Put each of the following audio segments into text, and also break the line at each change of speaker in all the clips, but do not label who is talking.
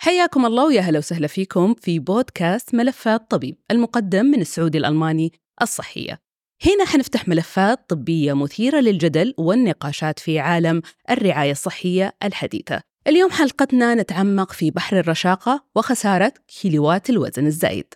حياكم الله ويا هلا وسهلا فيكم في بودكاست ملفات طبيب المقدم من السعودي الألماني الصحية هنا حنفتح ملفات طبية مثيرة للجدل والنقاشات في عالم الرعاية الصحية الحديثة اليوم حلقتنا نتعمق في بحر الرشاقة وخسارة كيلوات الوزن الزايد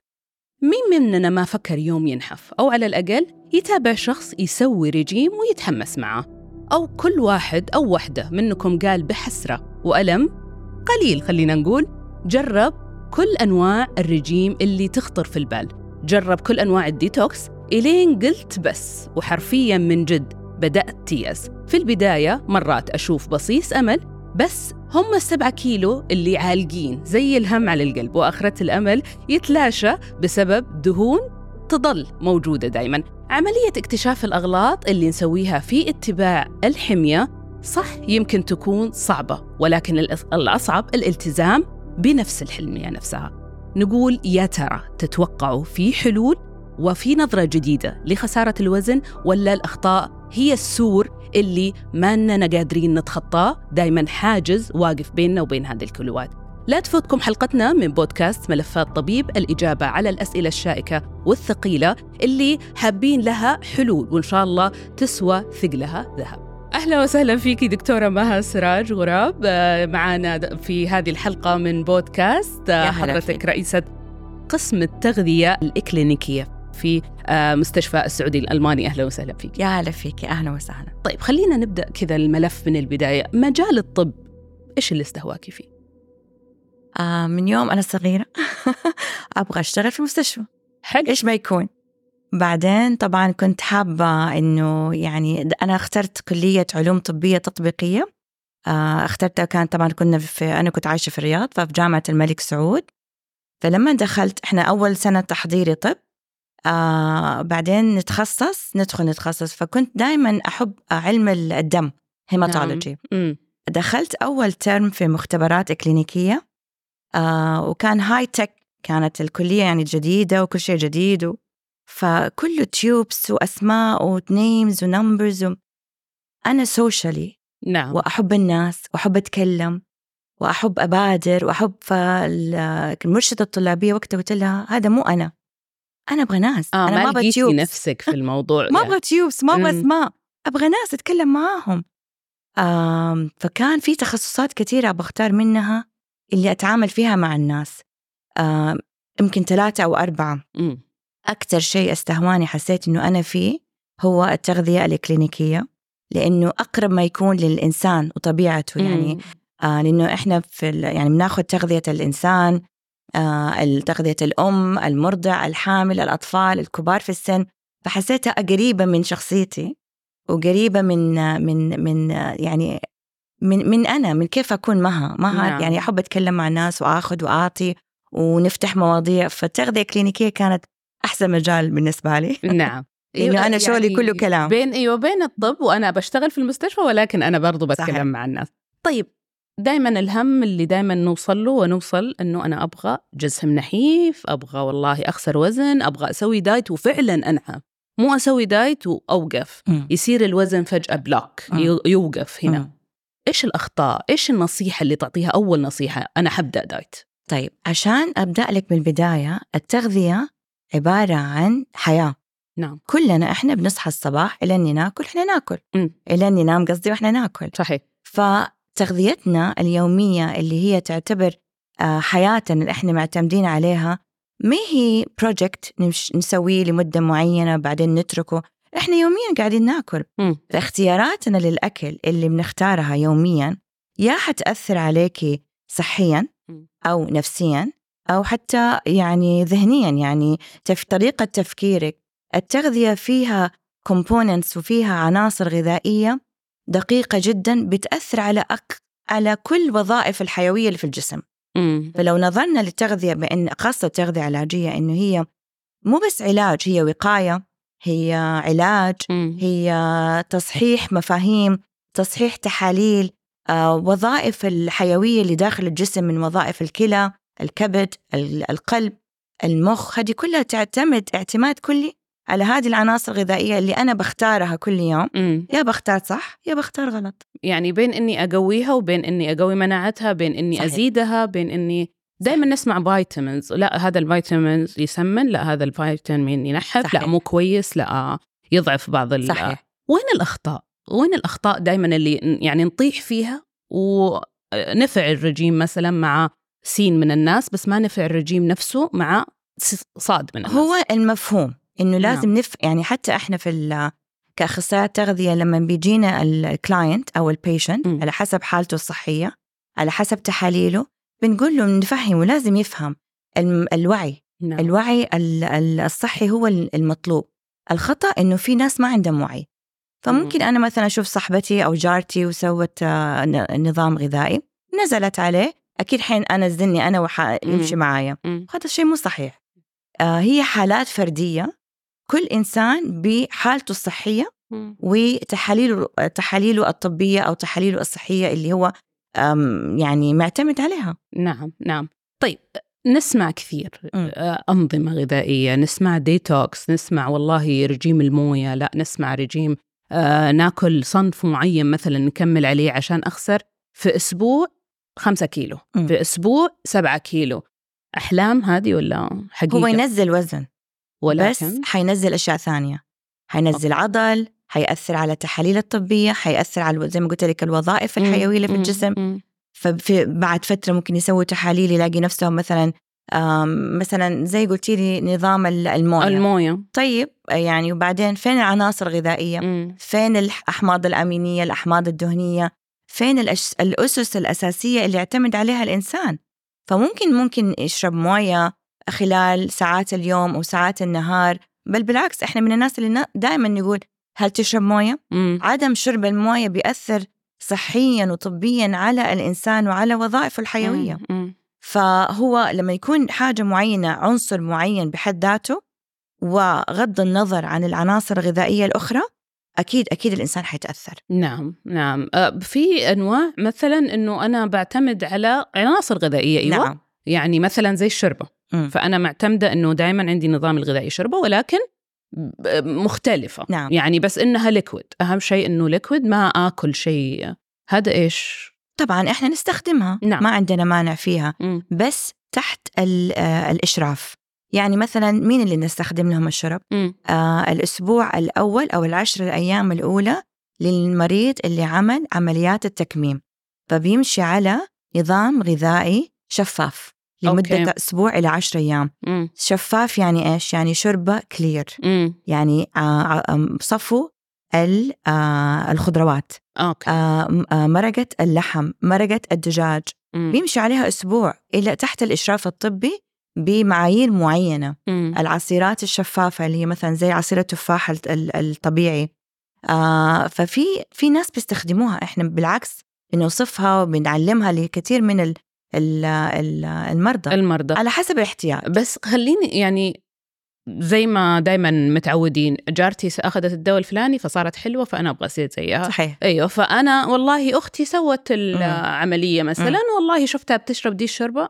مين مننا ما فكر يوم ينحف أو على الأقل يتابع شخص يسوي رجيم ويتحمس معه أو كل واحد أو وحدة منكم قال بحسرة وألم قليل خلينا نقول جرب كل أنواع الرجيم اللي تخطر في البال جرب كل أنواع الديتوكس إلين قلت بس وحرفيا من جد بدأت تيأس في البداية مرات أشوف بصيص أمل بس هم السبعة كيلو اللي عالقين زي الهم على القلب وآخرة الأمل يتلاشى بسبب دهون تظل موجودة دايما عملية اكتشاف الأغلاط اللي نسويها في اتباع الحمية صح يمكن تكون صعبة ولكن الأص- الأصعب الالتزام بنفس الحلمية نفسها نقول يا ترى تتوقعوا في حلول وفي نظرة جديدة لخسارة الوزن ولا الأخطاء هي السور اللي ما اننا قادرين نتخطاه دايما حاجز واقف بيننا وبين هذه الكلوات لا تفوتكم حلقتنا من بودكاست ملفات طبيب الإجابة على الأسئلة الشائكة والثقيلة اللي حابين لها حلول وإن شاء الله تسوى ثقلها ذهب أهلا وسهلا فيكي دكتورة مها سراج غراب آه، معانا د- في هذه الحلقة من بودكاست آه،
يا هلا
حضرتك
فيك.
رئيسة قسم التغذية الإكلينيكية في آه، مستشفى السعودي الألماني أهلا وسهلا فيك
يا هلا فيك يا اهلا وسهلا
طيب خلينا نبدا كذا الملف من البدايه مجال الطب ايش اللي استهواكي فيه
آه من يوم انا صغيره ابغى اشتغل في مستشفى
حلو
ايش ما يكون بعدين طبعا كنت حابه انه يعني د- انا اخترت كليه علوم طبيه تطبيقيه آه اخترتها كان طبعا كنا في انا كنت عايشه في الرياض ففي جامعه الملك سعود فلما دخلت احنا اول سنه تحضيري طب آه بعدين نتخصص ندخل نتخصص فكنت دائما احب علم الدم هيماتولوجي
امم
دخلت أول ترم في مختبرات إكلينيكية آه وكان هاي تك كانت الكلية يعني جديدة وكل شيء جديد و... فكله تيوبس وأسماء ونيمز ونمبرز و... أنا سوشيالي
نعم
وأحب الناس وأحب أتكلم وأحب أبادر وأحب فالمرشدة الطلابية وقتها قلت لها هذا مو أنا أنا أبغى ناس
اه
أنا
ما
أبغى
لقيتي نفسك في الموضوع
ما
ده.
ابغى تيوبس ما ابغى
مم.
اسماء ابغى ناس اتكلم معاهم آم فكان في تخصصات كثيره بختار منها اللي اتعامل فيها مع الناس آم، يمكن ثلاثه او اربعه
مم.
اكثر شيء استهواني حسيت انه انا فيه هو التغذيه الاكلينيكيه لانه اقرب ما يكون للانسان وطبيعته يعني
مم.
آه لانه احنا في ال- يعني بناخذ تغذيه الانسان آه تغذيه الام المرضع الحامل الاطفال الكبار في السن فحسيتها قريبه من شخصيتي وقريبه من من من يعني من من انا من كيف اكون مها مها
نعم.
نعم. يعني احب اتكلم مع الناس واخذ واعطي ونفتح مواضيع فالتغذيه الكلينيكيه كانت احسن مجال بالنسبه لي
نعم
لأنه يعني أنا شغلي
يعني
كله كلام.
بين ايوه بين الطب وانا بشتغل في المستشفى ولكن انا برضو بتكلم
صحيح.
مع الناس طيب دائما الهم اللي دائما نوصل له ونوصل انه انا ابغى جسم نحيف ابغى والله اخسر وزن ابغى اسوي دايت وفعلا انحف مو اسوي دايت واوقف يصير الوزن فجاه بلوك
مم.
يو- يوقف هنا
مم.
ايش الاخطاء ايش النصيحه اللي تعطيها اول نصيحه انا حبدا دايت
طيب عشان ابدا لك من البدايه التغذيه عباره عن حياه
نعم
كلنا احنا بنصحى الصباح الى اني ناكل احنا ناكل
مم. طيب.
الى اني نام قصدي واحنا ناكل
صحيح
فتغذيتنا اليوميه اللي هي تعتبر آه، حياتنا اللي احنا معتمدين عليها ما هي بروجكت نمش- نسويه لمده معينه بعدين نتركه احنا يوميا قاعدين ناكل
مم.
اختياراتنا للاكل اللي بنختارها يوميا يا حتاثر عليكي صحيا
مم.
او نفسيا او حتى يعني ذهنيا يعني تف طريقه تفكيرك التغذيه فيها كومبوننتس وفيها عناصر غذائيه دقيقه جدا بتاثر على أك... على كل وظائف الحيويه اللي في الجسم
مم.
فلو نظرنا للتغذية بأن خاصة التغذية العلاجية أنه هي مو بس علاج هي وقاية هي علاج
مم.
هي تصحيح مفاهيم تصحيح تحاليل آه، وظائف الحيوية اللي داخل الجسم من وظائف الكلى الكبد ال- القلب المخ هذه كلها تعتمد اعتماد كلي على هذه العناصر الغذائية اللي أنا بختارها كل يوم
مم.
يا بختار صح يا بختار غلط
يعني بين اني اقويها وبين اني اقوي مناعتها بين اني
صحيح.
ازيدها بين اني دائما نسمع فيتامينز لا هذا الفيتامينز يسمن لا هذا الفيتامين ينحف
صحيح.
لا مو كويس لا يضعف بعض ال-
صحيح
وين الاخطاء وين الاخطاء دائما اللي ن- يعني نطيح فيها ونفع الرجيم مثلا مع سين من الناس بس ما نفع الرجيم نفسه مع س- صاد من الناس
هو المفهوم انه
نعم.
لازم نف يعني حتى احنا في ال- كاخصائيات تغذيه لما بيجينا الكلاينت او البيشنت
مم.
على حسب حالته الصحيه على حسب تحاليله بنقول له نفهمه لازم يفهم الم- الوعي
نعم.
الوعي ال- ال- الصحي هو ال- المطلوب الخطا انه في ناس ما عندهم وعي فممكن
مم.
انا مثلا اشوف صاحبتي او جارتي وسوت آه، ن- نظام غذائي نزلت عليه اكيد حين انزلني انا وحيمشي
مم.
معايا
مم.
هذا الشيء مو صحيح آه، هي حالات فرديه كل انسان بحالته الصحيه
مم.
وتحاليله تحاليله الطبيه او تحاليله الصحيه اللي هو أم، يعني معتمد عليها
نعم نعم طيب نسمع كثير
مم.
آه، أنظمة غذائية نسمع ديتوكس نسمع والله رجيم الموية لا نسمع رجيم آه، ناكل صنف معين مثلا نكمل عليه عشان أخسر في أسبوع خمسة كيلو
مم.
في أسبوع سبعة كيلو أحلام هذه ولا حقيقة
هو ينزل وزن بس
ولكن
حينزل اشياء ثانيه حينزل عضل حيأثر على التحاليل الطبيه حيأثر على الو- زي ما قلت لك الوظائف الحيويه اللي في
مم،
الجسم
مم،
فبعد فتره ممكن يسوي تحاليل يلاقي نفسهم مثلا أم، مثلا زي قلتي لي نظام ال- المويه
الموية
طيب يعني وبعدين فين العناصر الغذائية؟
مم،
فين الأحماض الأمينية، الأحماض الدهنية؟ فين الأش... الأسس الأساسية اللي يعتمد عليها الإنسان؟ فممكن ممكن يشرب موية خلال ساعات اليوم أو ساعات النهار بل بالعكس إحنا من الناس اللي دائما نقول هل تشرب موية؟
مم،
عدم شرب الموية بيأثر صحيا وطبيا على الإنسان وعلى وظائفه الحيوية
مم، مم.
فهو لما يكون حاجة معينة عنصر معين بحد ذاته وغض النظر عن العناصر الغذائية الأخرى أكيد أكيد الإنسان حيتأثر
نعم نعم آه، في أنواع مثلا أنه أنا بعتمد على عناصر غذائية أيوة
نعم
يعني مثلا زي الشربه
مم.
فانا معتمده انه دائما عندي نظام الغذائي شربه ولكن ب- مختلفه
نعم.
يعني بس انها ليكويد اهم شيء انه ليكويد ما اكل شيء هذا ايش
طبعا إحنا نستخدمها
نعم.
ما عندنا مانع فيها
مم.
بس تحت ال- آه، الإشراف يعني مثلا مين اللي نستخدم لهم الشرب
مم.
آه الأسبوع الأول أو العشر الأيام الأولى للمريض اللي عمل عمليات التكميم فبيمشي على نظام غذائي شفاف لمدة
أوكي.
أوكي. أسبوع إلى عشر أيام
مم.
شفاف يعني إيش؟ يعني شربة كلير
مم.
يعني آه، آه، صفو ال- آه، الخضروات
اوكي
آه، م- آه، مرقة اللحم مرقة الدجاج
مم.
بيمشي عليها أسبوع إلى تحت الإشراف الطبي بمعايير معينة
مم.
أه. العصيرات الشفافة اللي هي مثلا زي عصير التفاح الت- ال- الطبيعي آه ففي في ناس بيستخدموها احنا بالعكس بنوصفها وبنعلمها لكثير من ال ال ال المرضى
المرضى
على حسب الاحتياج
بس خليني يعني زي ما دائما متعودين جارتي اخذت الدواء الفلاني فصارت حلوه فانا ابغى اصير زيها
صحيح
ايوه فانا والله اختي سوت
مم.
العمليه مثلا والله شفتها بتشرب دي الشربه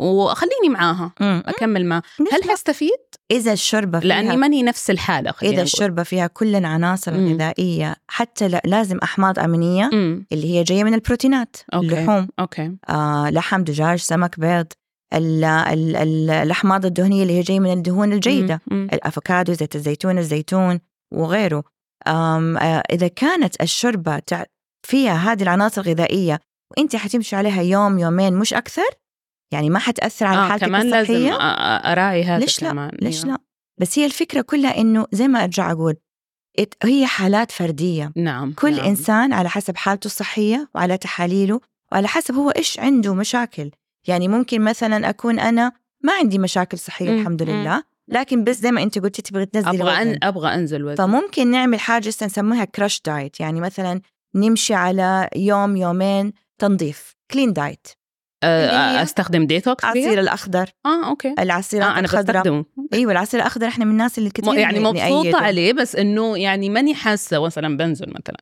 وخليني معاها
مم.
اكمل معها هل
هل
حستفيد
اذا الشوربه فيها
لاني ماني نفس الحاله خلينا
اذا
نقول.
الشوربه فيها كل العناصر
يعني. مم.
الغذائيه حتى لا- لازم احماض امينيه
امم
اللي هي جايه من البروتينات
أوكي.
اللحوم
اوكي
آه، لحم دجاج سمك بيض ال- ال- ال- الاحماض الدهنيه اللي هي جايه من الدهون الجيده
مم.
الافوكادو زيت الزيتون الزيتون وغيره أم آه، اذا كانت الشوربه تع- فيها هذه العناصر الغذائيه وانت حتمشي عليها يوم يومين مش اكثر يعني ما حتاثر على
آه
حالتك
كمان لازم
الصحيه
أ- أ- اراعي هذا
ليش لا؟
كمان
ليش
أيوة.
لا بس هي الفكره كلها انه زي ما ارجع اقول إت- هي حالات فرديه
نعم
كل
نعم.
انسان على حسب حالته الصحيه وعلى تحاليله وعلى حسب هو ايش عنده مشاكل يعني ممكن مثلا اكون انا ما عندي مشاكل صحيه
مم،
الحمد
مم.
لله لكن بس زي ما انت قلتي تبغي تنزلي
ابغى
وزن.
إمم، أن... ابغى انزل وزن
فممكن نعمل حاجة لسه نسميها كراش دايت يعني مثلا نمشي على يوم يومين تنظيف كلين دايت اللي
آه
هي
استخدم ديتوكس فيها؟
العصير الأخضر
اه اوكي
العصيرات
آه انا
الخضراء
بستخدمه
أيوة العصير الأخضر إحنا من الناس اللي
م-
كتير
يعني
ن-
مبسوطه
نأيده.
عليه بس انه يعني ماني حاسه مثلا بنزل مثلا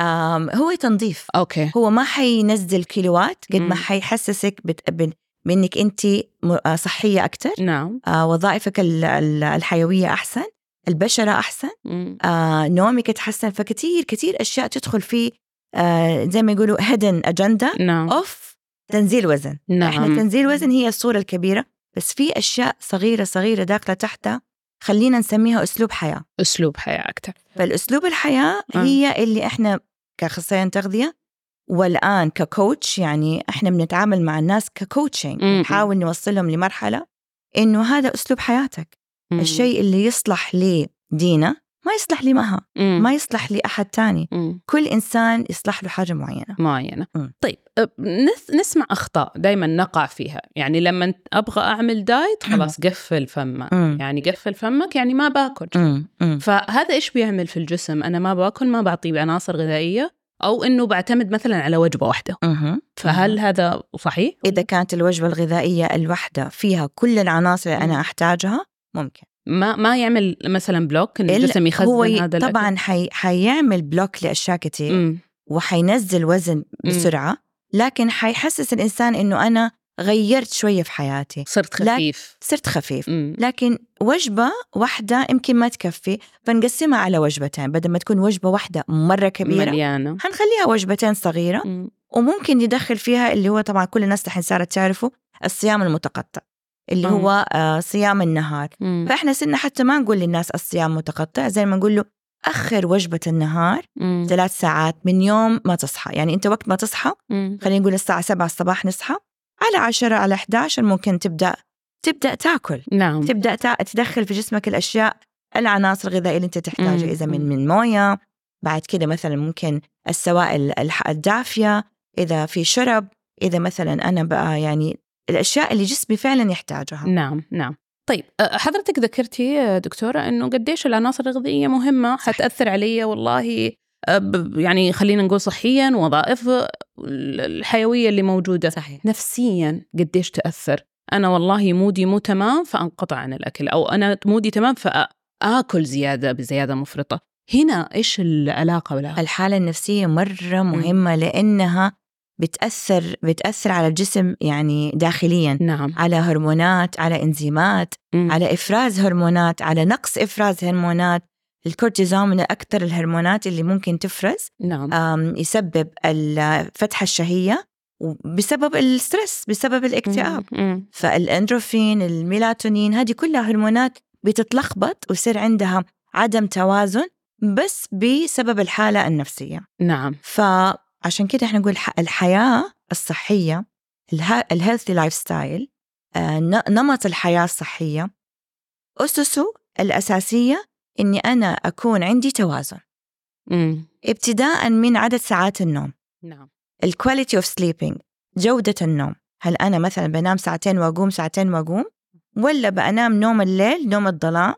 آم هو تنظيف
اوكي
هو ما حينزل كيلوات قد
مم.
ما حيحسسك بت... بن- بإنك أنت آه، صحية أكتر
نعم
آه وظائفك ال- ال- الحيوية أحسن البشرة أحسن
مم.
آه نومك تحسن فكتير كتير أشياء تدخل فيه آه زي ما يقولوا هيدن أجندة
نعم
اوف تنزيل وزن
نعم
احنا تنزيل وزن هي الصورة الكبيرة بس في أشياء صغيرة صغيرة داخلة تحتها خلينا نسميها أسلوب حياة
اسلوب حياه اكثر
فالأسلوب الحياة
آه.
هي اللي احنا كأخصائيين تغذية والآن ككوتش يعني احنا بنتعامل مع الناس ككوتشنج
مم.
نحاول نوصلهم لمرحلة إنه هذا أسلوب حياتك
إمم.
الشيء اللي يصلح لدينا ما يصلح لمها
إمم.
ما يصلح لأحد تاني كل إنسان يصلح له حاجة معينة
معينة
مم.
طيب أه، نس- نسمع أخطاء دايما نقع فيها يعني لما أبغى أعمل دايت خلاص قفل فمك
مم.
يعني قفل فمك يعني ما باكل
مم. مم.
فهذا إيش بيعمل في الجسم أنا ما باكل ما بعطيه عناصر غذائية أو إنه بعتمد مثلا على وجبة واحدة
مهم.
فهل هذا صحيح؟
إذا كانت الوجبة الغذائية الواحدة فيها كل العناصر اللي
إمم.
أنا أحتاجها ممكن
ما ما يعمل مثلا بلوك إن
ال-
الجسم يخزن
هو ي-
هذا الأكل؟
طبعا حي... حيعمل بلوك لأشياء كتير
مم.
وحينزل وزن
مم.
بسرعة لكن حيحسس الإنسان إنه أنا غيرت شوية في حياتي
صرت
لا-
خفيف
صرت خفيف
مم.
لكن وجبة واحدة يمكن ما تكفي فنقسمها على وجبتين بدل ما تكون وجبة واحدة مرة كبيرة
مليانة
حنخليها وجبتين صغيرة
مم.
وممكن يدخل فيها اللي هو طبعا كل الناس الحين صارت تعرفه الصيام المتقطع اللي هو آه، صيام النهار
مم.
فاحنا صرنا حتى ما نقول للناس الصيام متقطع زي ما نقول له اخر وجبه النهار
مم.
ثلاث ساعات من يوم ما تصحى يعني انت وقت ما تصحى
مم.
خلينا نقول الساعه 7 الصباح نصحى على 10 على 11 ممكن تبدا تبدا تاكل
نعم
تبدا تا- تدخل في جسمك الاشياء العناصر الغذائيه اللي انت
مم.
تحتاجها اذا من
مم.
من مويه بعد كده مثلا ممكن السوائل الح- الدافيه اذا في شرب اذا مثلا انا بقى يعني الاشياء اللي جسمي فعلا يحتاجها
نعم نعم طيب أه، حضرتك ذكرتي يا دكتورة أنه قديش العناصر الغذائية مهمة
صحيح.
حتأثر علي والله أه، ب- يعني خلينا نقول صحيا وظائف أه، ال- الحيوية اللي موجودة
صحيح
نفسيا قديش تأثر أنا والله مودي مو تمام فأنقطع عن الأكل أو أنا مودي تمام فأكل زيادة بزيادة مفرطة هنا إيش العلاقة ولا
الحالة النفسية مرة مهمة لأنها بتأثر بتأثر على الجسم يعني داخليا
نعم
على هرمونات على إنزيمات
مم.
على إفراز هرمونات على نقص إفراز هرمونات الكورتيزون من أكثر الهرمونات اللي ممكن تفرز
نعم
أم، يسبب الفتحة الشهية بسبب الستريس بسبب الاكتئاب
مم.
فالاندروفين الميلاتونين هذه كلها هرمونات بتتلخبط ويصير عندها عدم توازن بس بسبب الحالة النفسية
نعم
فعشان كده احنا نقول ح- الحياة الصحية الهيلثي لايف ستايل آه، نمط الحياة الصحية أسسه الأساسية إني أنا أكون عندي توازن
مم.
ابتداء من عدد ساعات النوم
نعم
الكواليتي اوف سليبينج جودة النوم هل أنا مثلا بنام ساعتين وأقوم ساعتين وأقوم ولا بأنام نوم الليل نوم الظلام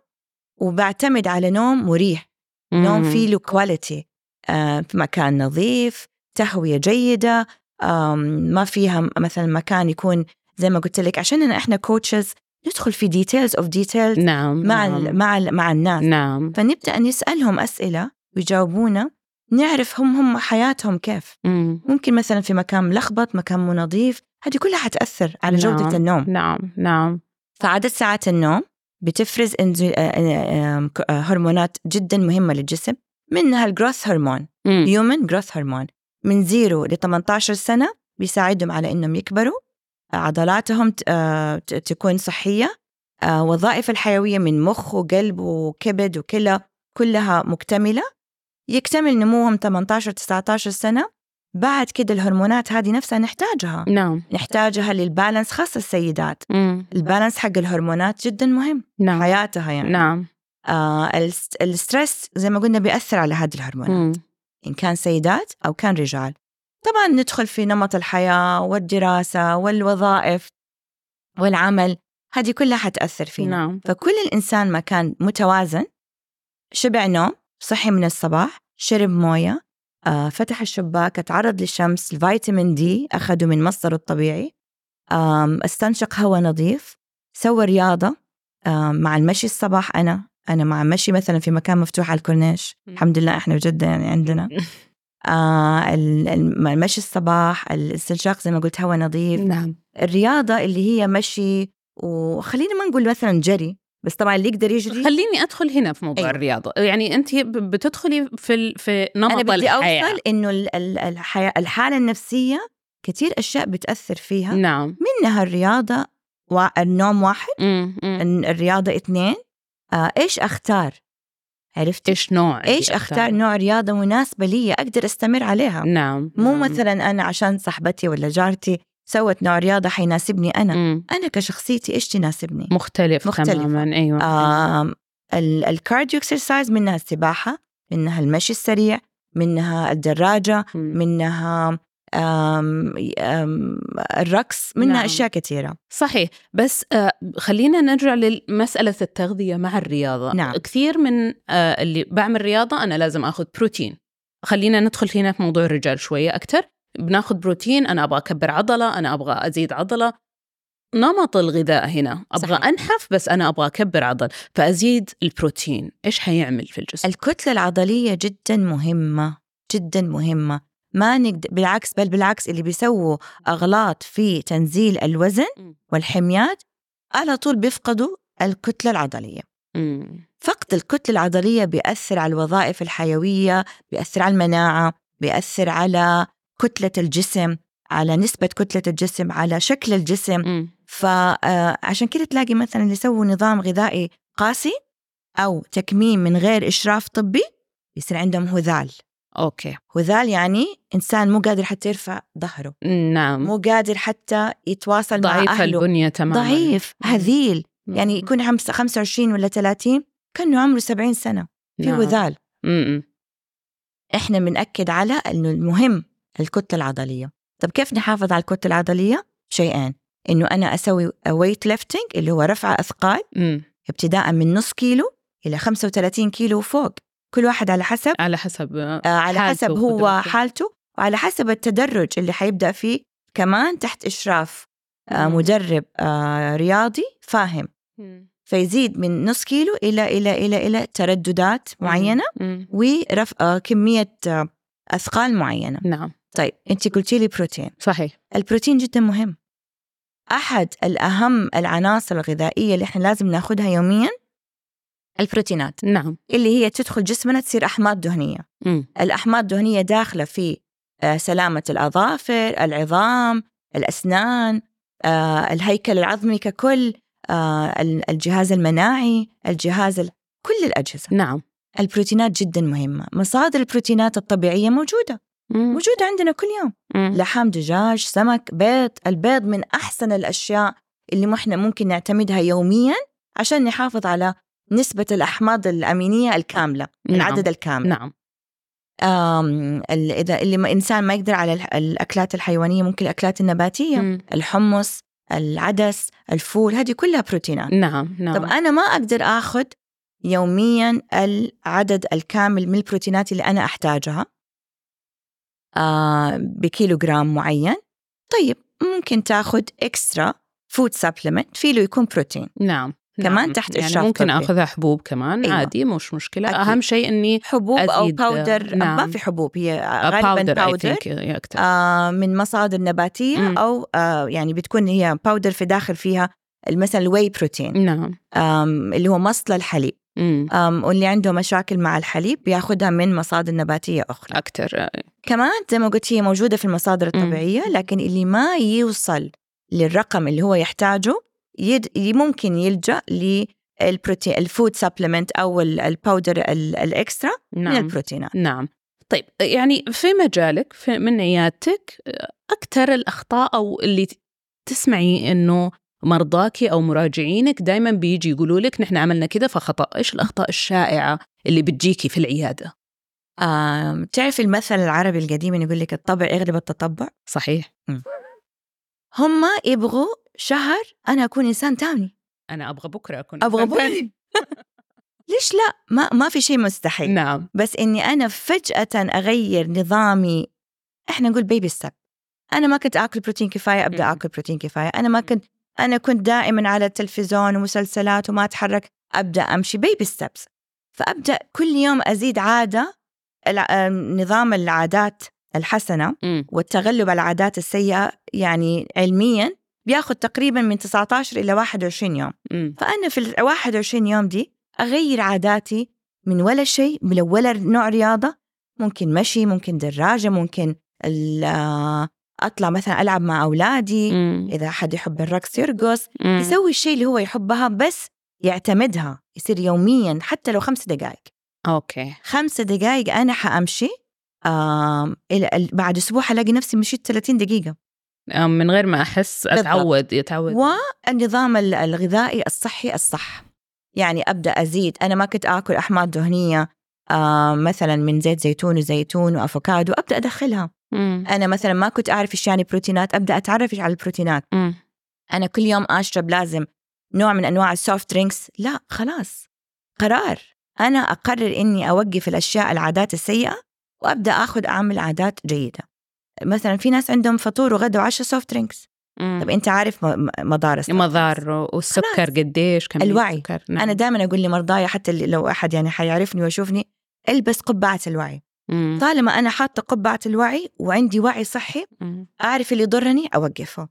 وبعتمد على نوم مريح نوم
مم.
فيه له كواليتي آه، في مكان نظيف تهوية جيدة آم، ما فيها م- مثلا مكان يكون زي ما قلت لك عشان إن احنا كوتشز ندخل في ديتيلز اوف ديتيلز
نعم
مع
نعم.
ال مع ال مع الناس
نعم
فنبدا نسالهم اسئله ويجاوبونا نعرف هم هم حياتهم كيف
مم.
ممكن مثلا في مكان ملخبط مكان مو نظيف هذه كلها حتأثر على جودة
نعم.
النوم
نعم نعم
فعدد ساعات النوم بتفرز إنزو- آه، آه، آه، ك- آه، هرمونات جدا مهمة للجسم منها الجروث هرمون
مم.
هيومن جروث هرمون من زيرو ل 18 سنة بيساعدهم على إنهم يكبروا آه، عضلاتهم ت- آه، ت- تكون صحية آه، وظائف الحيوية من مخ وقلب وكبد وكلى كلها مكتملة يكتمل نموهم 18 19 سنة بعد كده الهرمونات هذه نفسها نحتاجها
نعم
نحتاجها للبالانس خاصة السيدات
مم.
البالانس حق الهرمونات جدا مهم
نعم
حياتها يعني
نعم
آه الس- الستريس زي ما قلنا بيأثر على هذه الهرمونات
نعم، مم.
إن كان سيدات أو كان رجال طبعا ندخل في نمط الحياة والدراسة والوظائف والعمل هذه كلها حتأثر فينا
نعم
فكل الإنسان ما كان متوازن شبع نوم صحي من الصباح شرب موية آه، فتح الشباك اتعرض للشمس الفيتامين دي أخده من مصدره الطبيعي آم، استنشق هواء نظيف سوى رياضة آم، مع المشي الصباح أنا أنا مع مشي مثلا في مكان مفتوح على الكورنيش
مم.
الحمد لله إحنا بجدة يعني عندنا آه، ال- الم- المشي الصباح الاستنشاق زي ما قلت هواء نظيف
نعم
الرياضة اللي هي مشي وخلينا ما نقول مثلا جري بس طبعا اللي يقدر يجري
خليني ادخل هنا في موضوع
أيوة.
الرياضه يعني انت ب- بتدخلي في ال- في نمط
انا بدي
الحياه
اوصل انه ال- ال- الحياة- الحاله النفسيه كثير أشياء بتأثر فيها
نعم
منها الرياضة وا- النوم واحد
مم، مم.
ال- الرياضة اثنين آه، إيش أختار عرفتي؟
ايش نوع
إيش أختار نوع رياضة مناسبة لي أقدر أستمر عليها
نعم
مو
نعم.
مثلا أنا عشان صاحبتي ولا جارتي سوت نوع رياضة حيناسبني أنا
مم.
أنا كشخصيتي إيش تناسبني
مختلف
مختلفة. آه،
تماما ايوه
آم، ال- الكارديو اكسرسايز منها السباحة منها المشي السريع منها الدراجة
مم.
منها آم، آم، الرقص منها
نعم.
أشياء كثيرة
صحيح بس آه، خلينا نرجع لمسألة التغذية مع الرياضة
نعم.
كثير من آه، اللي بعمل رياضة أنا لازم أخذ بروتين خلينا ندخل هنا في موضوع الرجال شوية أكثر بناخذ بروتين أنا أبغى أكبر عضلة أنا أبغى أزيد عضلة نمط الغذاء هنا أبغى
صحيح.
صحيح. أنحف بس أنا أبغى أكبر عضل فأزيد البروتين إيش حيعمل في الجسم؟
الكتلة العضلية جدا مهمة جدا مهمة ما نقدر بالعكس بل بالعكس اللي بيسووا أغلاط في تنزيل الوزن
مم.
والحميات على طول بيفقدوا الكتلة العضلية
مم.
فقد الكتلة العضلية بيأثر على الوظائف الحيوية بيأثر على المناعة بيأثر على كتلة الجسم على نسبة كتلة الجسم على شكل الجسم
مم.
فعشان كده تلاقي مثلا اللي يسووا نظام غذائي قاسي أو تكميم من غير إشراف طبي يصير عندهم هذال
أوكي
هذال يعني إنسان مو قادر حتى يرفع ظهره
نعم
مو قادر حتى يتواصل مع
ضعيف
أهله
البنية تماما
ضعيف
مم.
هذيل يعني
مم.
يكون خمسة- 25 ولا 30 كأنه عمره 70 سنة في
نعم.
هذال
مم.
احنا بنأكد على انه المهم الكتله العضليه طب كيف نحافظ على الكتله العضليه شيئين انه انا اسوي ويت ليفتنج اللي هو رفع اثقال
مم.
ابتداء من نص كيلو الى 35 كيلو وفوق كل واحد على حسب
على حسب
آه على
حالته
حسب هو
وقدرته.
حالته وعلى حسب التدرج اللي حيبدا فيه كمان تحت اشراف آه مدرب آه رياضي فاهم
مم.
فيزيد من نص كيلو الى الى الى الى ترددات معينه
مم.
ورفع آه كميه آه اثقال معينه
نعم
طيب انت قلتي لي بروتين
صحيح
البروتين جدا مهم احد الاهم العناصر الغذائيه اللي احنا لازم ناخدها يوميا البروتينات
نعم
اللي هي تدخل جسمنا تصير احماض دهنيه
مم.
الاحماض الدهنيه داخله في آه، سلامه الاظافر العظام الاسنان آه، الهيكل العظمي ككل آه، ال- الجهاز المناعي الجهاز ال- كل الاجهزه
نعم
البروتينات جدا مهمه مصادر البروتينات الطبيعيه موجوده
مم.
موجوده عندنا كل يوم
مم.
لحم دجاج سمك بيض البيض من أحسن الأشياء اللي احنا ممكن نعتمدها يوميا عشان نحافظ على نسبة الأحماض الأمينية الكاملة العدد الكامل
نعم
آم، ال- إذا اللي ما إنسان ما يقدر على الح- الأكلات الحيوانية ممكن الأكلات النباتية
مم.
الحمص العدس الفول هذه كلها بروتينات
نعم نعم
طب أنا ما أقدر آخذ يوميا العدد الكامل من البروتينات اللي أنا أحتاجها آه بكيلو جرام معين طيب ممكن تاخذ اكسترا فود سبلمنت فيه يكون بروتين
نعم
كمان
نعم.
تحت
يعني
إشراف
ممكن
طبي.
اخذ حبوب كمان
أيوة.
أيوة. عادي مش مشكله
أكيد.
أكيد. اهم شيء اني
حبوب او
أزيد،
باودر
نعم. آه،
ما في حبوب هي غالبا
باودر
باودر
اكثر
آه من مصادر نباتيه
مم.
او آه يعني بتكون هي باودر في داخل فيها مثلا الواي بروتين
نعم
آم اللي هو مصل الحليب
مم.
آم واللي عنده مشاكل مع الحليب بياخذها من مصادر نباتيه اخرى
اكثر
كمان زي ما قلت هي موجودة في المصادر الطبيعية لكن اللي ما يوصل للرقم اللي هو يحتاجه يد ي- ممكن يلجأ للبروتين الفود سبلمنت أو ال- الباودر ال- الإكسترا من
نعم
البروتينات
نعم طيب يعني في مجالك في من عيادتك أكثر الأخطاء أو اللي ت- تسمعي إنه مرضاك أو مراجعينك دائما بيجي يقولوا لك نحن عملنا كذا فخطأ إيش الأخطاء الشائعة اللي بتجيكي في العيادة
آم، تعرف المثل العربي القديم اللي يقول لك الطبع يغلب التطبع
صحيح
هم يبغوا شهر أنا أكون إنسان تامني
أنا أبغى بكرة أكون
أبغى
إنسان
بكرة.
ثاني.
ليش لا ما, ما في شيء مستحيل
نعم
بس إني أنا فجأة أغير نظامي احنا نقول بيبي ستيب انا ما كنت اكل بروتين كفايه ابدا
مم.
اكل بروتين كفايه انا ما كنت انا كنت دائما على التلفزيون ومسلسلات وما اتحرك ابدا امشي بيبي ستيبس فابدا كل يوم ازيد عاده الع- آم، نظام العادات الحسنه
مم.
والتغلب على العادات السيئه يعني علميا بياخذ تقريبا من 19 الى 21 يوم
مم.
فانا في ال 21 يوم دي اغير عاداتي من ولا شيء من ولا نوع رياضه ممكن مشي ممكن دراجه ممكن ال- آه، اطلع مثلا العب مع اولادي
مم.
اذا حد يحب الرقص يرقص
مم.
يسوي الشيء اللي هو يحبها بس يعتمدها يصير يوميا حتى لو خمس دقائق
اوكي
خمس دقائق انا حامشي آم إلى- ال- بعد اسبوع حلاقي نفسي مشيت 30 دقيقه
آه، من غير ما احس
بالضبط.
اتعود يتعود
والنظام ال- الغذائي الصحي الصح يعني ابدا ازيد انا ما كنت اكل احماض دهنيه آه مثلا من زيت زيتون وزيتون وافوكادو ابدا ادخلها
مم.
انا مثلا ما كنت اعرف ايش يعني بروتينات ابدا اتعرف ايش على البروتينات
مم.
انا كل يوم اشرب لازم نوع من انواع السوفت درينكس لا خلاص قرار انا اقرر اني اوقف الاشياء العادات السيئه وابدا اخذ اعمل عادات جيده مثلا في ناس عندهم فطور وغدا وعشاء سوفت درينكس
مم.
طب انت عارف م- م- مضار السوفت درينكس.
مضار والسكر
خلاص.
قديش كم
الوعي.
سكر نعم.
انا دائما اقول لمرضاي حتى اللي- لو احد يعني حيعرفني ويشوفني البس قبعه الوعي
مم.
طالما انا حاطه قبعه الوعي وعندي وعي صحي
مم.
اعرف اللي يضرني اوقفه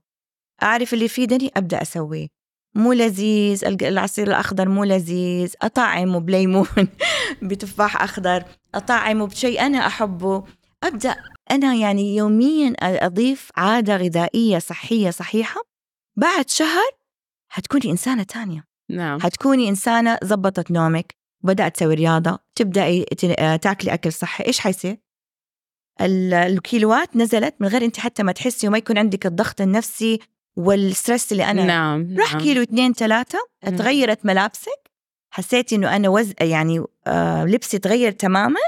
اعرف اللي يفيدني ابدا اسويه مو لذيذ الق- العصير الاخضر مو لذيذ اطعمه بليمون بتفاح اخضر اطعمه بشيء انا احبه ابدا انا يعني يوميا أ- اضيف عاده غذائيه صحيه صحيحه بعد شهر حتكوني انسانه تانية
نعم
حتكوني انسانه زبطت نومك بدات تسوي رياضه تبداي ت- آه، تاكلي اكل صحي ايش حيصير ال- الكيلوات نزلت من غير انت حتى ما تحسي وما يكون عندك الضغط النفسي والستريس اللي انا
نعم
راح
نعم.
كيلو اثنين ثلاثة
مم.
تغيرت ملابسك حسيتي انه انا وز يعني آه لبسي تغير تماما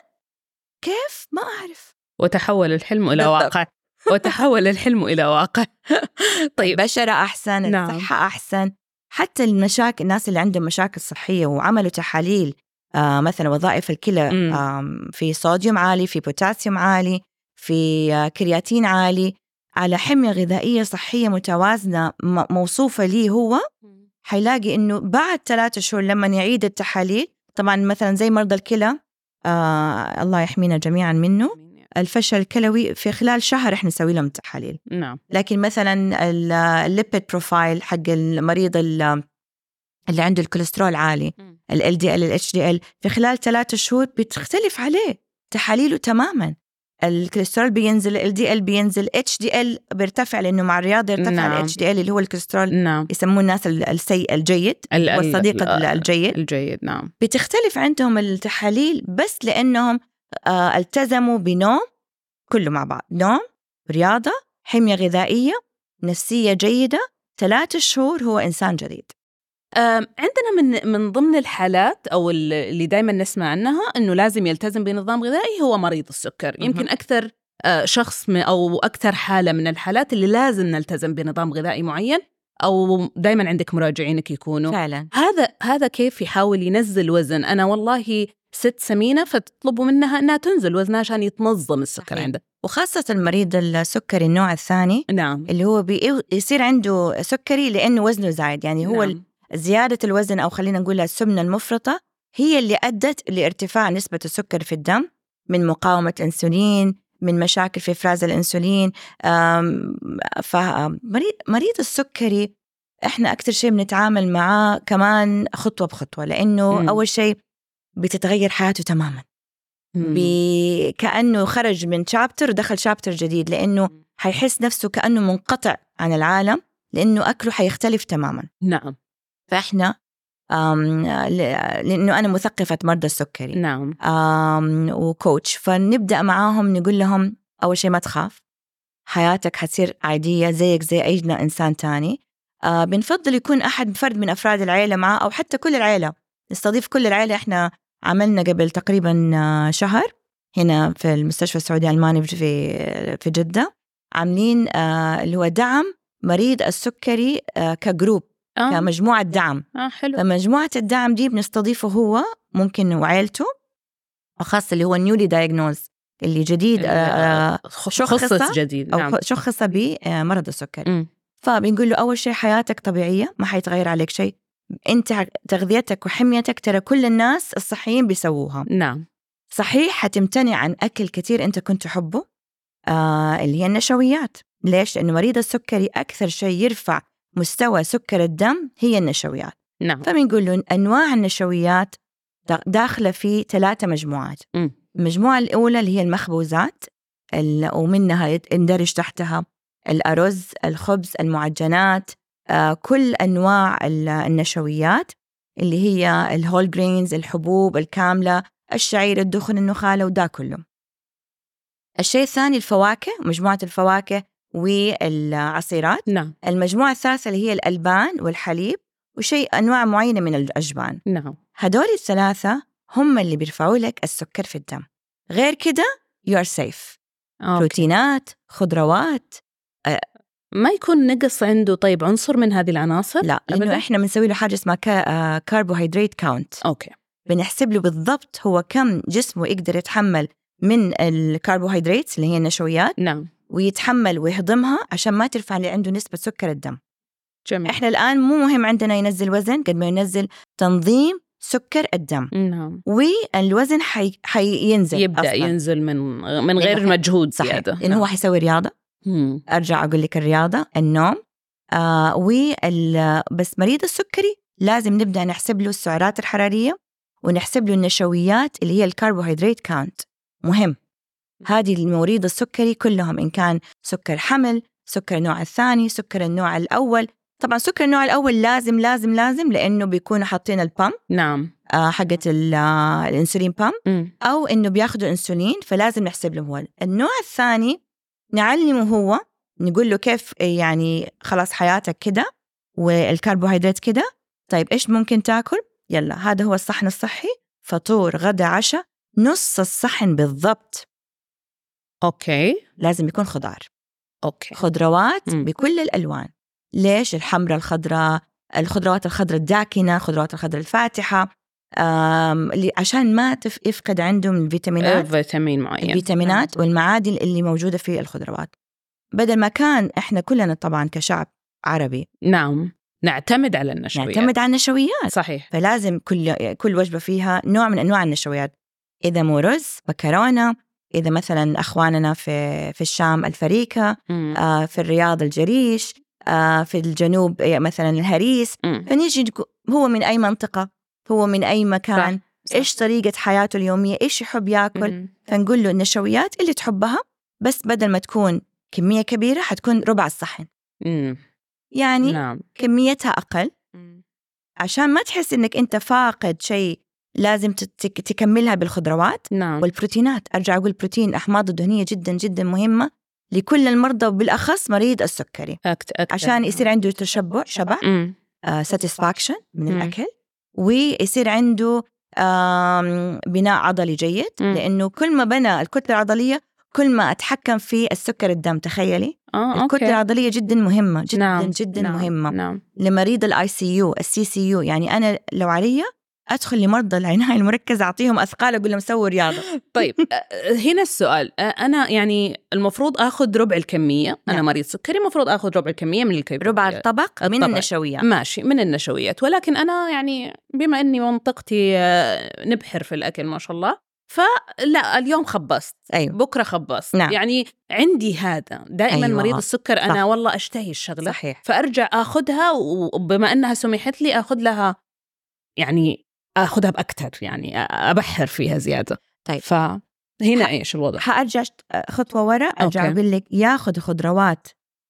كيف ما اعرف
وتحول الحلم الى
بالضبط.
واقع وتحول الحلم الى واقع طيب
البشرة احسن
نعم.
الصحة احسن حتى المشاكل الناس اللي عندهم مشاكل صحية وعملوا تحاليل آه مثلا وظائف الكلى
مم.
آم، في صوديوم عالي في بوتاسيوم عالي في آه، كرياتين عالي على حمية غذائية صحية متوازنة م- موصوفة لي هو حيلاقي انه بعد ثلاثة شهور لما يعيد التحاليل طبعا مثلا زي مرضى الكلى آه الله يحمينا جميعا منه
يعني؟
الفشل الكلوي في خلال شهر احنا نسوي لهم تحاليل
نعم
لكن مثلا ال- الليبيد بروفايل حق المريض ال- اللي عنده الكوليسترول عالي ال LDL ال HDL في خلال ثلاثة شهور بتختلف عليه تحاليله تماما الكوليسترول بينزل ال LDL بينزل HDL بيرتفع لانه مع الرياضه يرتفع
نعم.
ال HDL اللي هو الكوليسترول
نعم
يسموه الناس ال- السيء الجيد
ال- ال-
والصديق ال- الجيد
الجيد نعم
بتختلف عندهم التحاليل بس لانهم آه، التزموا بنوم كله مع بعض نوم رياضه حميه غذائيه نفسيه جيده ثلاثة شهور هو انسان جديد
أم، عندنا من من ضمن الحالات او ال- اللي دائما نسمع عنها انه لازم يلتزم بنظام غذائي هو مريض السكر
مهم.
يمكن اكثر آه، شخص م- او اكثر حاله من الحالات اللي لازم نلتزم بنظام غذائي معين او دائما عندك مراجعينك يكونوا
فعلا
هذا هذا كيف يحاول ينزل وزن انا والله ست سمينه فتطلبوا منها انها تنزل وزنها عشان يتنظم السكر
صحيح.
عندها
وخاصة المريض السكري النوع الثاني
نعم
اللي هو بي- يصير عنده سكري لأنه وزنه زايد يعني هو
نعم.
زيادة الوزن أو خلينا نقول السمنة المفرطة هي اللي أدت لارتفاع نسبة السكر في الدم من مقاومة الأنسولين من مشاكل في إفراز الأنسولين أم، فمريض مريض السكري إحنا أكثر شيء بنتعامل معاه كمان خطوة بخطوة لأنه
مم.
أول شيء بتتغير حياته تماما
مم.
بي- كأنه خرج من شابتر ودخل شابتر جديد لأنه حيحس نفسه كأنه منقطع عن العالم لأنه أكله حيختلف تماما
نعم
فاحنا أم، ل- لانه انا مثقفه مرضى السكري
نعم
أم، وكوتش فنبدا معاهم نقول لهم اول شيء ما تخاف حياتك حتصير عاديه زيك زي اي انسان تاني أه، بنفضل يكون احد فرد من افراد العيله معاه او حتى كل العيله نستضيف كل العيله احنا عملنا قبل تقريبا آه، شهر هنا في المستشفى السعودي الالماني في في جده عاملين آه، اللي هو دعم مريض السكري آه، كجروب
آه.
كمجموعه دعم
آه حلو
فمجموعة الدعم دي بنستضيفه هو ممكن وعائلته وخاصة اللي هو النيولي دايجنوز اللي جديد آه،
خصص
شخصة
جديد
أو
نعم
شخص بمرض السكري
مم.
فبنقول له أول شيء حياتك طبيعية ما حيتغير عليك شيء أنت ع- تغذيتك وحميتك ترى كل الناس الصحيين بيسووها
نعم
صحيح حتمتنع عن أكل كثير أنت كنت تحبه آه اللي هي النشويات ليش؟ لأنه مريض السكري أكثر شيء يرفع مستوى سكر الدم هي النشويات
نعم
فبنقول له انواع النشويات دا- داخله في ثلاثه مجموعات
مم.
المجموعه الاولى اللي هي المخبوزات ال- ومنها يت- يندرج تحتها الأرز الخبز المعجنات آه، كل أنواع ال- النشويات اللي هي الهول جرينز الحبوب الكاملة الشعير الدخن النخالة وده كله الشيء الثاني الفواكه مجموعة الفواكه والعصيرات
نعم
المجموعة الثالثة اللي هي الألبان والحليب وشيء أنواع معينة من الأجبان
نعم
هدول الثلاثة هم اللي بيرفعوا لك السكر في الدم غير كده you are safe
أوكي.
بروتينات خضروات
ما يكون نقص عنده طيب عنصر من هذه العناصر
لا لأنه
أبداً؟
إحنا بنسوي له حاجة اسمها كاربوهيدرات كاونت
اوكي
بنحسب له بالضبط هو كم جسمه يقدر يتحمل من الكربوهيدرات اللي هي النشويات
نعم
ويتحمل ويهضمها عشان ما ترفع اللي عنده نسبة سكر الدم
جميل
احنا الان مو مهم عندنا ينزل وزن قد ما ينزل تنظيم سكر الدم
نعم
والوزن حي... حينزل
يبدا
أصلاً.
أصلاً. ينزل من من غير
لأنه-
مجهود
صحيح
زياده
لانه هو حيسوي رياضه
مم.
ارجع اقول لك الرياضه النوم آه وال... بس مريض السكري لازم نبدا نحسب له السعرات الحراريه ونحسب له النشويات اللي هي الكربوهيدرات كاونت مهم هذه المريض السكري كلهم ان كان سكر حمل سكر النوع الثاني سكر النوع الاول طبعا سكر النوع الاول لازم لازم لازم لانه بيكونوا حاطين البام
نعم
آه حقه ال- آه، الانسولين بام
مم.
او انه بياخذوا انسولين فلازم نحسب له هو النوع الثاني نعلمه هو نقول له كيف يعني خلاص حياتك كده والكربوهيدرات كده طيب ايش ممكن تاكل يلا هذا هو الصحن الصحي فطور غدا عشاء نص الصحن بالضبط
اوكي
لازم يكون خضار
اوكي
خضروات
مم.
بكل الالوان ليش الحمراء الخضراء الخضروات الخضراء الداكنه الخضروات الخضراء الفاتحه آم، اللي- عشان ما تف- يفقد عندهم الفيتامينات
آه، فيتامين معين
الفيتامينات والمعادن اللي موجوده في الخضروات بدل ما كان احنا كلنا طبعا كشعب عربي
نعم نعتمد على النشويات
نعتمد على النشويات
صحيح
فلازم كل كل وجبه فيها نوع من انواع النشويات اذا مو رز مكرونه اذا مثلا اخواننا في في الشام الفريكه
مم.
آه، في الرياض الجريش آه، في الجنوب آه، مثلا الهريس
مم.
فنيجي نقو- هو من اي منطقه هو من اي مكان
صح.
ايش طريقه حياته اليوميه ايش يحب ياكل
مم.
فنقول له النشويات اللي تحبها بس بدل ما تكون كمية كبيرة حتكون ربع الصحن
مم.
يعني
نعم
كميتها أقل عشان ما تحس إنك أنت فاقد شيء لازم تت- تك- تكملها بالخضروات
نعم
والبروتينات أرجع أقول بروتين أحماض الدهنية جدا جدا مهمة لكل المرضى وبالأخص مريض السكري
أكت... أكت...
عشان يصير عنده تشبع شبع
مم.
ساتسفاكشن من
مم.
الأكل ويصير عنده آم، بناء عضلي جيد
مم.
لأنه كل ما بنى الكتلة العضلية كل ما أتحكم في السكر الدم تخيلي
اه
الكتلة
اوكي
العضلية جدا مهمة جدا
نعم.
جدا
نعم.
مهمة
نعم
لمريض الاي سي يو السي سي يو يعني أنا لو علي أدخل لمرضى العناية المركزة أعطيهم أثقال أقول لهم سووا رياضة
طيب أ- هنا السؤال أ- انا يعني المفروض اخذ ربع الكميه انا
نعم.
مريض سكري المفروض اخذ ربع الكميه من الكيبوريات
ربع الطبق من
الطبق.
النشويات
ماشي من النشويات ولكن انا يعني بما اني منطقتي آه، نبحر في الاكل ما شاء الله فلا اليوم خبصت
أيوه
بكره خبصت
نعم.
يعني عندي هذا دائما
أيوة.
أيوة. مريض السكر انا
صح.
والله اشتهي الشغله
صحيح
فارجع اخذها وبما انها سمحت لي اخذ لها يعني اخذها باكثر يعني أ- ابحر فيها زياده
طيب.
فهنا
ح-
ايش الوضع؟
حأرجع خطوة ورا أرجع
أوكي.
أقول لك ياخذ خضروات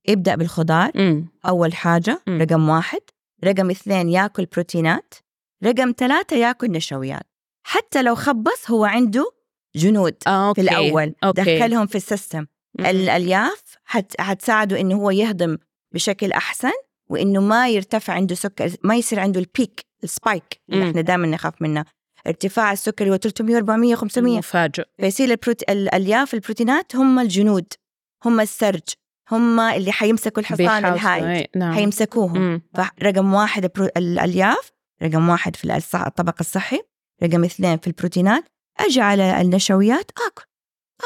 ابدأ بالخضار
امم
أول حاجة
مم.
رقم واحد رقم اثنين ياكل بروتينات رقم ثلاثة ياكل نشويات حتى لو خبص هو عنده جنود
اوكي
في الأول
أوكي.
دخلهم في السيستم
مم.
الألياف حت- حتساعده إنه هو يهضم بشكل أحسن وإنه ما يرتفع عنده سكر ما يصير عنده البيك السبايك اللي
مم.
إحنا دائما نخاف منه ارتفاع السكر هو 300 400 500
مفاجئ
فيصير البروت... ال- الألياف البروتينات هم الجنود هم السرج هم اللي حيمسكوا الحصان
بيحاول-
الهايج
إيه، نعم
حيمسكوهم
مم.
فرقم واحد البرو... الألياف رقم واحد في الألص- الطبق الصحي رقم اثنين في البروتينات أجي على النشويات آكل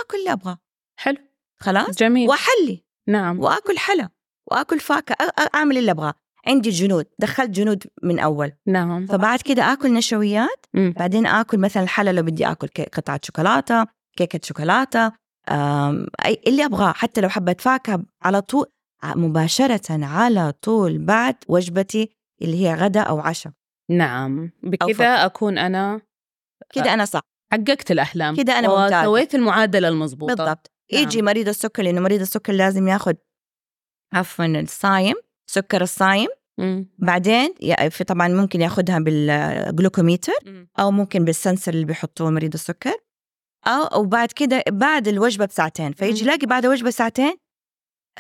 آكل اللي أبغى
حلو
خلاص
جميل
وأحلي
نعم
وآكل حلا وآكل فاكهة أ- أ- أعمل اللي أبغاه عندي جنود دخلت جنود من أول
نعم
فبعد كده آكل نشويات
مم.
بعدين اكل مثلا الحلا لو بدي اكل كي- قطعه شوكولاته كيكه شوكولاته أم، اي اللي ابغاه حتى لو حبه فاكهه على طول ع- مباشره على طول بعد وجبتي اللي هي غدا او عشاء
نعم بكذا اكون انا
كده انا صح
حققت الاحلام
كده أنا ممتازة.
وسويت المعادله المضبوطه
بالضبط
نعم.
يجي مريض السكر لانه مريض السكر لازم ياخذ عفوا الصايم سكر الصايم بعدين يا- في طبعا ممكن ياخذها بالجلوكوميتر او ممكن بالسنسر اللي بيحطوه مريض السكر او وبعد كده بعد الوجبه بساعتين فيجي
مم.
يلاقي بعد وجبه ساعتين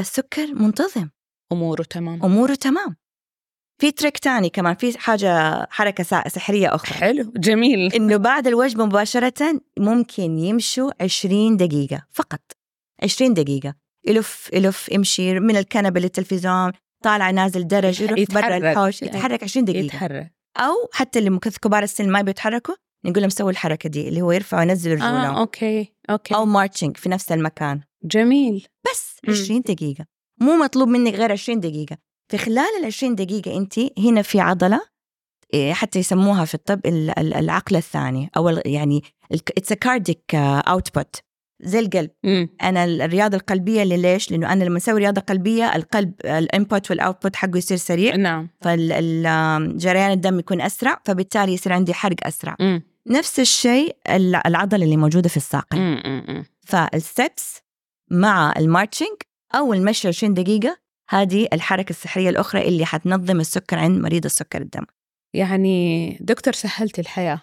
السكر منتظم
اموره تمام
اموره تمام في تريك تاني كمان في حاجه حركه سا- سحريه اخرى
حلو جميل
انه بعد الوجبه مباشره ممكن يمشوا 20 دقيقه فقط 20 دقيقه يلف يلف يمشي من الكنبه للتلفزيون طالع نازل درج
يتح-
يروح برا
يتحرك.
الحوش
يعني
يتحرك 20 دقيقه
يتحرك
او حتى اللي ممكن كبار السن ما بيتحركوا نقول لهم سووا الحركه دي اللي هو يرفع وينزل رجولهم
اه اوكي اوكي
او مارتشنج في نفس المكان
جميل
بس
مم.
20 دقيقه مو مطلوب منك غير 20 دقيقه في خلال ال 20 دقيقه انت هنا في عضله إيه، حتى يسموها في الطب ال- ال- العقل الثاني او ال- يعني اتس كارديك اوتبوت آه، زي القلب
مم.
انا ال- الرياضه القلبيه اللي ليش لانه انا لما اسوي رياضه قلبيه القلب الانبوت والاوتبوت حقه يصير سريع
نعم
فالجريان الدم يكون اسرع فبالتالي يصير عندي حرق اسرع
مم.
نفس الشيء ال- العضله اللي موجوده في الساقين
مم. مم. مم.
فالستبس مع المارتشنج او المشي 20 دقيقه هذه الحركه السحريه الاخرى اللي حتنظم السكر عند مريض السكر الدم
يعني دكتور سهلتي الحياه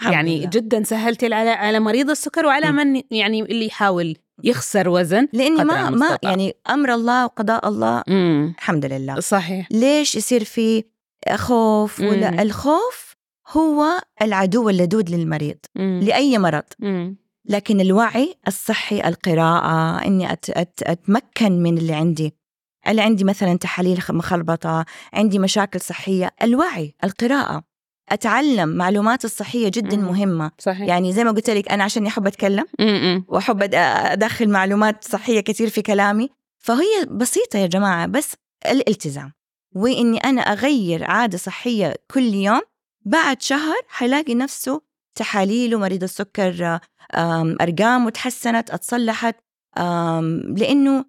الحمد
يعني
لله.
جدا سهلتي على على مريض السكر وعلى
مم.
من يعني اللي يحاول يخسر وزن
لاني
قدر
ما ما
المستطاع.
يعني امر الله وقضاء الله
مم.
الحمد لله
صحيح
ليش يصير في خوف ولا
مم.
الخوف هو العدو اللدود للمريض
مم.
لاي مرض
مم.
لكن الوعي الصحي القراءة إني أت أت أتمكن من اللي عندي اللي عندي مثلا تحاليل خ- مخربطة عندي مشاكل صحية الوعي القراءة أتعلم معلومات الصحية جدا
مم.
مهمة
صحيح
يعني زي ما قلت لك أنا عشان أحب أتكلم
مم.
وأحب أد- أدخل معلومات صحية كثير في كلامي فهي بسيطة يا جماعة بس الالتزام وإني أنا أغير عادة صحية كل يوم بعد شهر حيلاقي نفسه تحاليله مريض السكر آم، أرقامه تحسنت اتصلحت آم، لأنه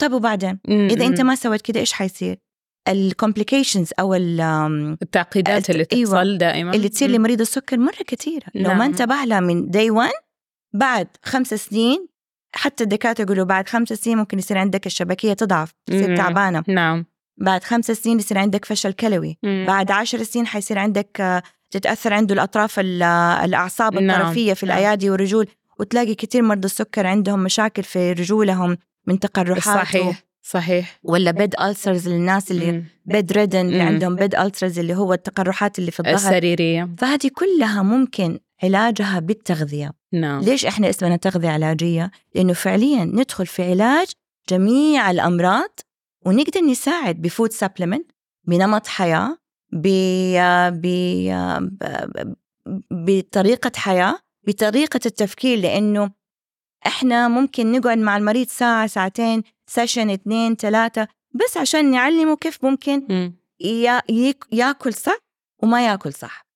طب وبعدين
مم.
إذا أنت
مم.
ما سويت كده إيش حيصير؟ الكومبليكيشنز أو ال- آم،
التعقيدات اللي
أيوة.
تحصل دائما
اللي تصير
مم.
لمريض السكر مرة كثيرة لو ما
نعم.
انتبه لها من داي 1 بعد خمس سنين حتى الدكاترة يقولوا بعد خمس سنين ممكن يصير عندك الشبكية تضعف
مم.
تصير تعبانة
نعم
بعد خمس سنين يصير عندك فشل كلوي
مم.
بعد عشر سنين حيصير عندك آه، تتأثر عنده الأطراف ال- آه، الأعصاب
نعم،
الطرفية في
نعم.
الأيادي والرجول وتلاقي كثير مرضى السكر عندهم مشاكل في رجولهم من تقرحات و-
صحيح صحيح
ولا بيد ألسرز للناس اللي
مم.
بيد ريدن اللي
مم.
عندهم بيد ألسرز اللي هو التقرحات اللي في الظهر
السريرية
فهذه كلها ممكن علاجها بالتغذية
نعم
ليش إحنا اسمنا تغذية علاجية؟ لأنه فعليا ندخل في علاج جميع الأمراض ونقدر نساعد بفود سبلمنت بنمط حياة ب... ب... ب... بطريقة حياة بطريقة التفكير لأنه إحنا ممكن نقعد مع المريض ساعة ساعتين سيشن اثنين ثلاثة بس عشان نعلمه كيف ممكن
مم.
يا... يك- ياكل صح وما ياكل صح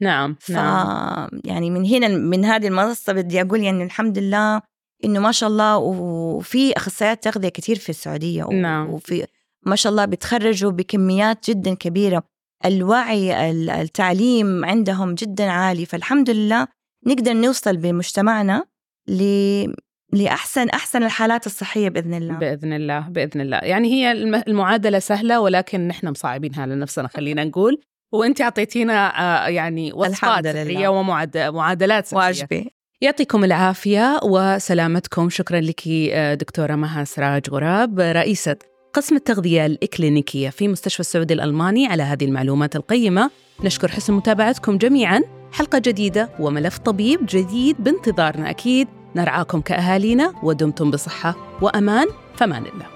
نعم
ف
نعم
يعني من هنا من هذه المنصه بدي اقول يعني الحمد لله انه ما شاء الله وفي اخصائيات تغذيه كثير في السعوديه و-
نعم.
وفي ما شاء الله بيتخرجوا بكميات جدا كبيره الوعي ال- التعليم عندهم جدا عالي فالحمد لله نقدر نوصل بمجتمعنا ل لاحسن احسن الحالات الصحيه باذن الله
بإذن الله بإذن الله يعني هي الم- المعادلة سهلة ولكن نحن مصعبينها على نفسنا خلينا نقول وانت اعطيتينا آه، يعني وصفات
الحمد لله.
سحريه ومعادلات سحريه
واجبي
يعطيكم العافية وسلامتكم شكرا لك آه، دكتورة مها سراج غراب رئيسة قسم التغذية الإكلينيكية في مستشفى السعودي الألماني على هذه المعلومات القيمة نشكر حسن متابعتكم جميعا حلقة جديدة وملف طبيب جديد بانتظارنا أكيد نرعاكم كأهالينا ودمتم بصحة وأمان فمان الله